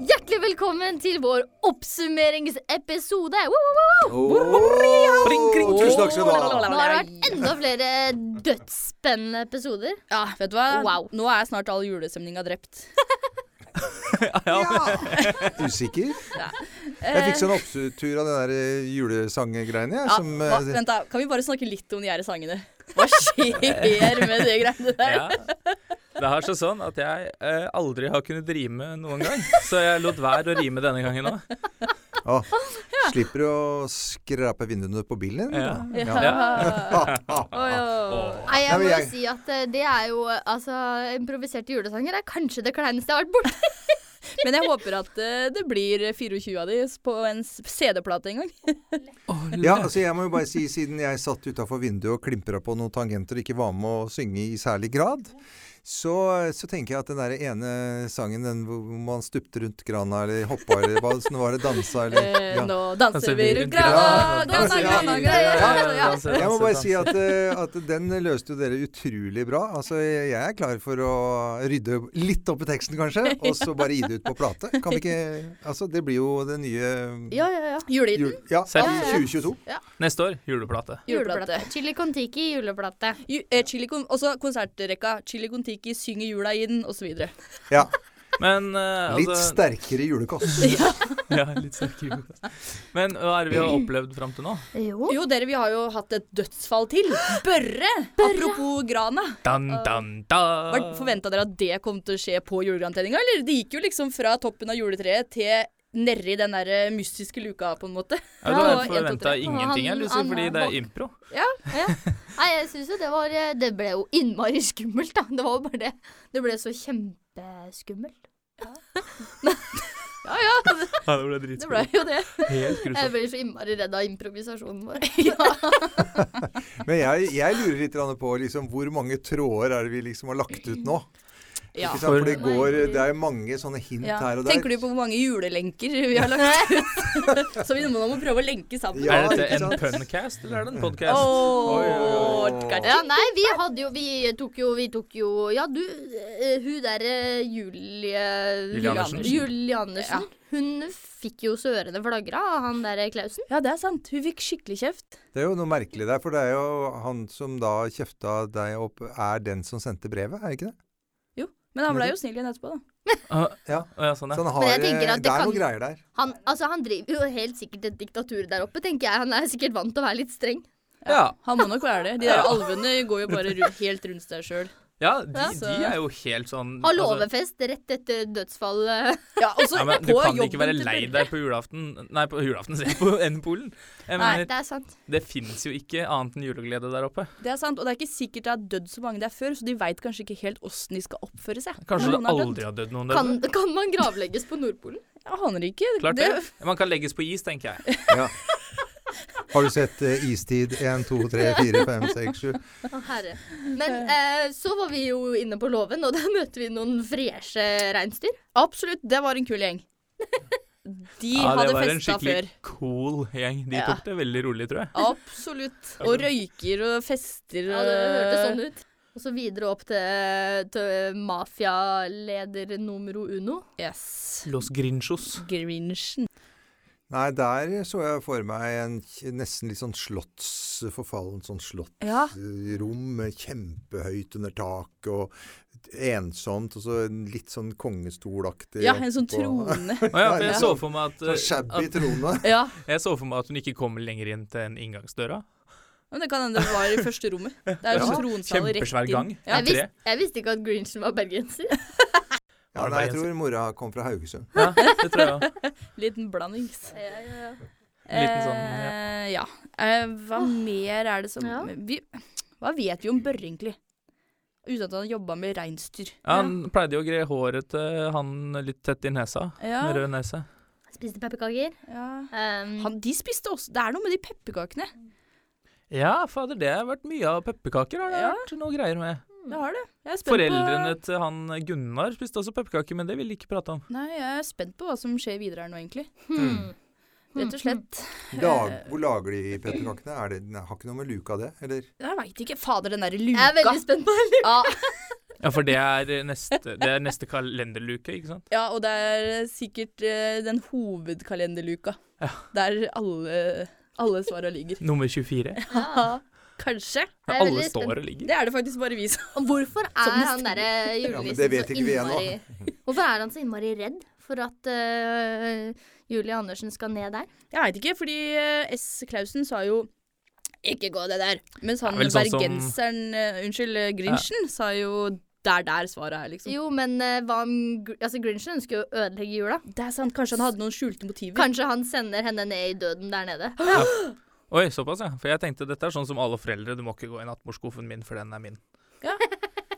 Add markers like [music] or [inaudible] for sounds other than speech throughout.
Hjertelig velkommen til vår oppsummeringsepisode. Woo, woo, woo. Kring, kring, tusen takk skal du ha. Nå har det vært enda flere dødsspennende episoder. Ja, vet du hva? Wow. Nå er snart all julestemninga drept. Usikker? Jeg fikk sånn opptur av den der eh, julesangegreiene, jeg. Ja, Som, hva, eh, vent da, Kan vi bare snakke litt om de her sangene? Hva skjer med de greiene der? Ja. Det har seg sånn at jeg eh, aldri har kunnet rime noen gang, så jeg lot være å rime denne gangen òg. å, slipper du å skrape vinduene på bilen din? Ja. da? Ja. Nei, Nei, jeg men må jeg- si at eh, det er jo eh, Altså, improviserte julesanger er kanskje det kleineste jeg har vært borti. Men jeg håper at eh, det blir 24 av de på en s- CD-plate en gang. Ja, altså jeg må jo bare si, siden jeg satt utafor vinduet og klimpra på noen tangenter og ikke var med å synge i særlig grad, så, så tenker jeg at den der ene sangen, den hvor man stupte rundt grana eller hoppa eller hva sånn var det, dansa eller Eh, ja. Nå Danser Altså, danser vi vi rundt rundt grana, grana, grana, danser vi grana, rundt grana. Jeg må bare si at, eh, at den løste jo dere utrolig bra. Altså, jeg er klar for å rydde litt opp i teksten, kanskje, og så bare gi det ut på plate. Kan vi ikke Altså, det blir jo det nye Ja, ja, ja. Julehiten. jul... Ja, Selv- i 2022. Neste år juleplate. Juleplate. Chili con tiki juleplate. Ju- eh, Chili Con- Også konsertrekka. Chili Kon-Tiki synger jula inn, osv. Ja. Men eh, Litt altså- sterkere julekost. Ja, litt sterkere. Men hva er det vi har opplevd fram til nå? Jo. Jo, dere, vi har jo hatt et dødsfall til. Børre! Apropos grana. Dan, dan, da. Ah. Forventa dere at det kom til å skje på julegrantenninga, eller? Det gikk jo liksom fra toppen av juletreet til nedi den der eh, mystiske luka, på en måte. Ja, da Ja, en, to, tre. forventa ingenting, jeg, Lucy, Han- han- fordi det er impro. Ja, Nei, jeg syns jo det var eh, Det ble jo innmari skummelt, da. Det var jo bare det. Det ble så kjempeskummelt. Ja ja, det Ja, det ble ble jo det. Helt Jeg grusomt. blir så innmari redd av improvisasjonen [laughs] vår. Men jeg, jeg lurer litt grann på liksom, hvor mange tråder er det vi liksom har lagt ut nå? ja. Ikke sant? For det, går, det er mange sånne hint Ja. her og der. Tenker du på hvor mange julelenker vi har lagt ut? Så vi må, må prøve å lenke sammen. Ja, er dette ikke en sant? Mm. puncast, eller er det en podcast? Åh, Oi, oi, oi. kanskje. Ja, nei, vi hadde jo Vi tok jo, vi tok jo Ja, du, eh, hun derre Julie Julie Andersen. Julie Andersen. Hun fikk jo sørene flagra av han derre Klausen. Ja, det er sant. Hun fikk skikkelig kjeft. Det er jo noe merkelig der, for det er jo han som da kjefta deg opp, er den som sendte brevet, er det ikke det? Jo, men han ble jo snill igjen etterpå, da. Ah, Ja. ah, ja, sånn, ja. Så han har, Men eh, jeg tenker at det det er kan- noe greier der. Han, altså, han driver jo helt sikkert et diktatur der oppe, tenker jeg. Han er sikkert vant til å være litt streng. ja. Han må nok være det. De der alvene går jo bare ru- helt rundt seg sjøl. Ja, de, Ja, så- de er jo helt sånn Har altså- låvefest rett etter eh, [laughs] dødsfallet. Ja, og så Ja, men du på kan jobben ikke være til lei Børre. deg på julaften Nei, på julaften, sier jeg, på N-polen. Jeg Nei, mener, Det er sant. Det fins jo ikke annet enn juleglede der oppe. Det er sant, og det er ikke sikkert det har dødd så mange der før, så de veit kanskje ikke helt åssen de skal oppføre seg. Kanskje det Noen har dødd. aldri har dødd noen der Kan, oppe. kan man gravlegges på Nordpolen? Jeg aner ikke. Klart det. Man kan legges på is, tenker jeg. Ja. Har du sett eh, Istid 1, 2, 3, 4, 5, 6, 7? Å, herre. Men eh, så var vi jo inne på låven, og der [laughs] møter vi noen freshe reinsdyr. Absolutt, det var en [laughs] kul gjeng. De det hadde var en festa skikkelig før. cool gjeng. De Ja. tok det veldig rolig, tror jeg. Absolutt. Og røyker og fester Ja, det hørtes sånn ut. Og så videre opp til, til mafialeder numero uno. Yes. Los Grinchos. Grinchen. Nei, der så jeg for meg en k- nesten litt sånn slotts, forfallent sånn Ja. slottsrom, med kjempehøyt under taket og ensomt, og så en litt sånn kongestolaktig Ja, en sånn på- trone. [laughs] Å ja, for Ja. jeg så for meg at, [laughs] Sånn shabby at trone. Ja, Jeg så for meg at hun ikke kommer lenger inn til en inngangsdøra. men det kan hende det var i første rommet. Det er jo Ja. sånn tronsale rett Kjempesvær gang. inn. Ja. jeg, tre. visste, jeg visste ikke at Grinchen var bergenser. Ja, nei, jeg tror mora kom fra Haugesund. Ja, det tror jeg også. Liten blandings. Liten sånn, Eh, ja. Eh, hva mer er det som Ja. vi, Hva vet vi om Børre, egentlig? Uten at han jobba med reinsdyr. Ja, han pleide jo å gre håret til han litt tett i nesa. Ja, Med rød nese. Spiste pepperkaker. ja. Um, Han, de spiste også Det er noe med de pepperkakene. Ja, fader, det har vært mye av pepperkaker har det Ja. vært noe greier med. Mm. Det har det. Jeg er spent Foreldrene til han Gunnar spiste også pepperkaker, men det vil de ikke prate om. på Nei, jeg er spent på hva som skjer videre her nå, egentlig. Hmm. Rett og slett. Lag, hvor lager de pepperkakene? Er det, nei, har ikke noe med luka det, eller? Jeg veit ikke. Fader, den derre Jeg er luka. veldig spent på det. Ja, Ja, for det er neste, det er neste kalenderluke, ikke sant? ja, og det er sikkert eh, den hovedkalenderluka. Der alle, alle [laughs] svara ligger. Nummer 24. Kanskje. Jeg er Alle veldig spent. står og ligger. Det er det faktisk bare vi som Og Hvorfor er han derre men julenissen det vet så ikke vi ennå. innmari Hvorfor er han så innmari redd for at øh, Julie Andersen skal ned der? Jeg veit ikke, fordi eh, S. Klausen sa jo ikke gå det der. Mens han Det er vel sånn som- bergenseren eh, Unnskyld, eh, Grinchen sa jo der, der svaret er, liksom. Jo, men øh, hva om Gr- altså, Grinchen ønsker jo å ødelegge jula. Det er sant. Kanskje han hadde noen skjulte motiver. Kanskje han sender henne ned i døden der [gasps] nede. Oi, såpass, ja. For jeg tenkte dette er sånn som alle foreldre, du må ikke gå i nattbordskuffen min, for den er min.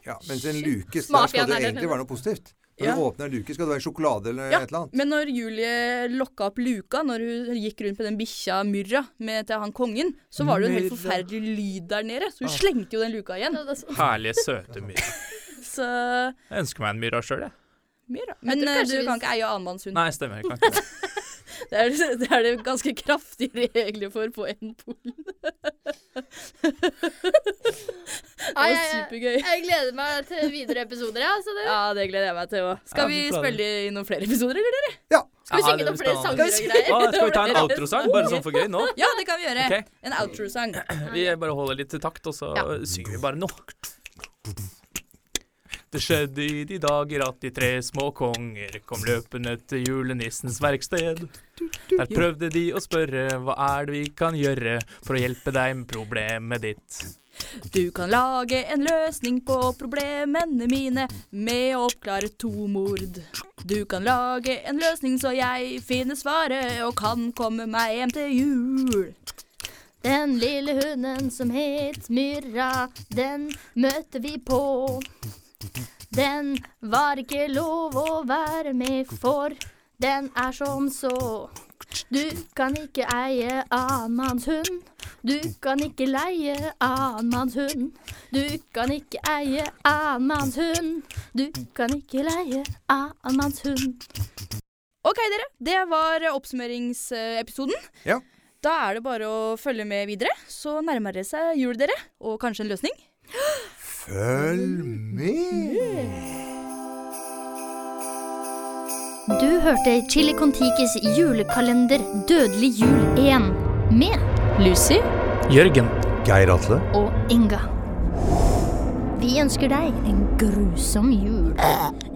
Ja, mens en luke der Mafiaen skal er det der egentlig nede. være noe positivt. Når Ja. du åpner en luke, skal det være sjokolade eller Ja, et eller annet. Men når Julie lokka opp luka, når hun gikk rundt med den bikkja Myrra med til han kongen, så var det jo en helt Myrra. forferdelig lyd der nede. Så hun Ah. slengte jo den luka igjen. Herlige, søte myr. Så Jeg ønsker meg en myra sjøl, jeg. Myrra. Men tror eh, kanskje du vi- kan ikke eie annenmannshund. Nei, stemmer. Jeg kan ikke det. Det er [laughs] det er det ganske kraftige regler for på en polen. Det Ai, ai, var ai. supergøy. Jeg gleder meg til videre episoder. Ja, så det. Ja, det gleder jeg meg til òg. Ja, Skal vi fy faen. spille i noen flere episoder, eller? Skal vi Ja, synge det noen blir flere spennende. sanger og greier? Å, skal vi ta en outrosang, bare sånn for gøy nå? Ja, det kan vi gjøre. Ok. En outro-sang. Vi bare holder litt takt, og så Ja. synger vi bare nå. Det skjedde i de dager at de tre små konger kom løpende til julenissens verksted. Der prøvde de å spørre hva er det vi kan gjøre for å hjelpe deg med problemet ditt. Du kan lage en løsning på problemene mine med å oppklare to mord. Du kan lage en løsning så jeg finner svaret og kan komme meg hjem til jul. Den lille hunden som het Myrra, den møtte vi på. Den var ikke lov å være med for, den er som så. Du kan ikke eie annenmanns hund. Du kan ikke leie annenmanns hund. Du kan ikke eie annenmanns hund. Du kan ikke leie annenmanns hund. OK, dere. Det var oppsummeringsepisoden. Ja. Da er det bare å følge med videre, så nærmer det seg jul, dere. Og kanskje en løsning. Følg med! Du hørte Chili Contikis julekalender Dødelig jul 1 med Lucy. Jørgen. Hmm. Geir Atle. og Inga. Vi ønsker deg en grusom jul.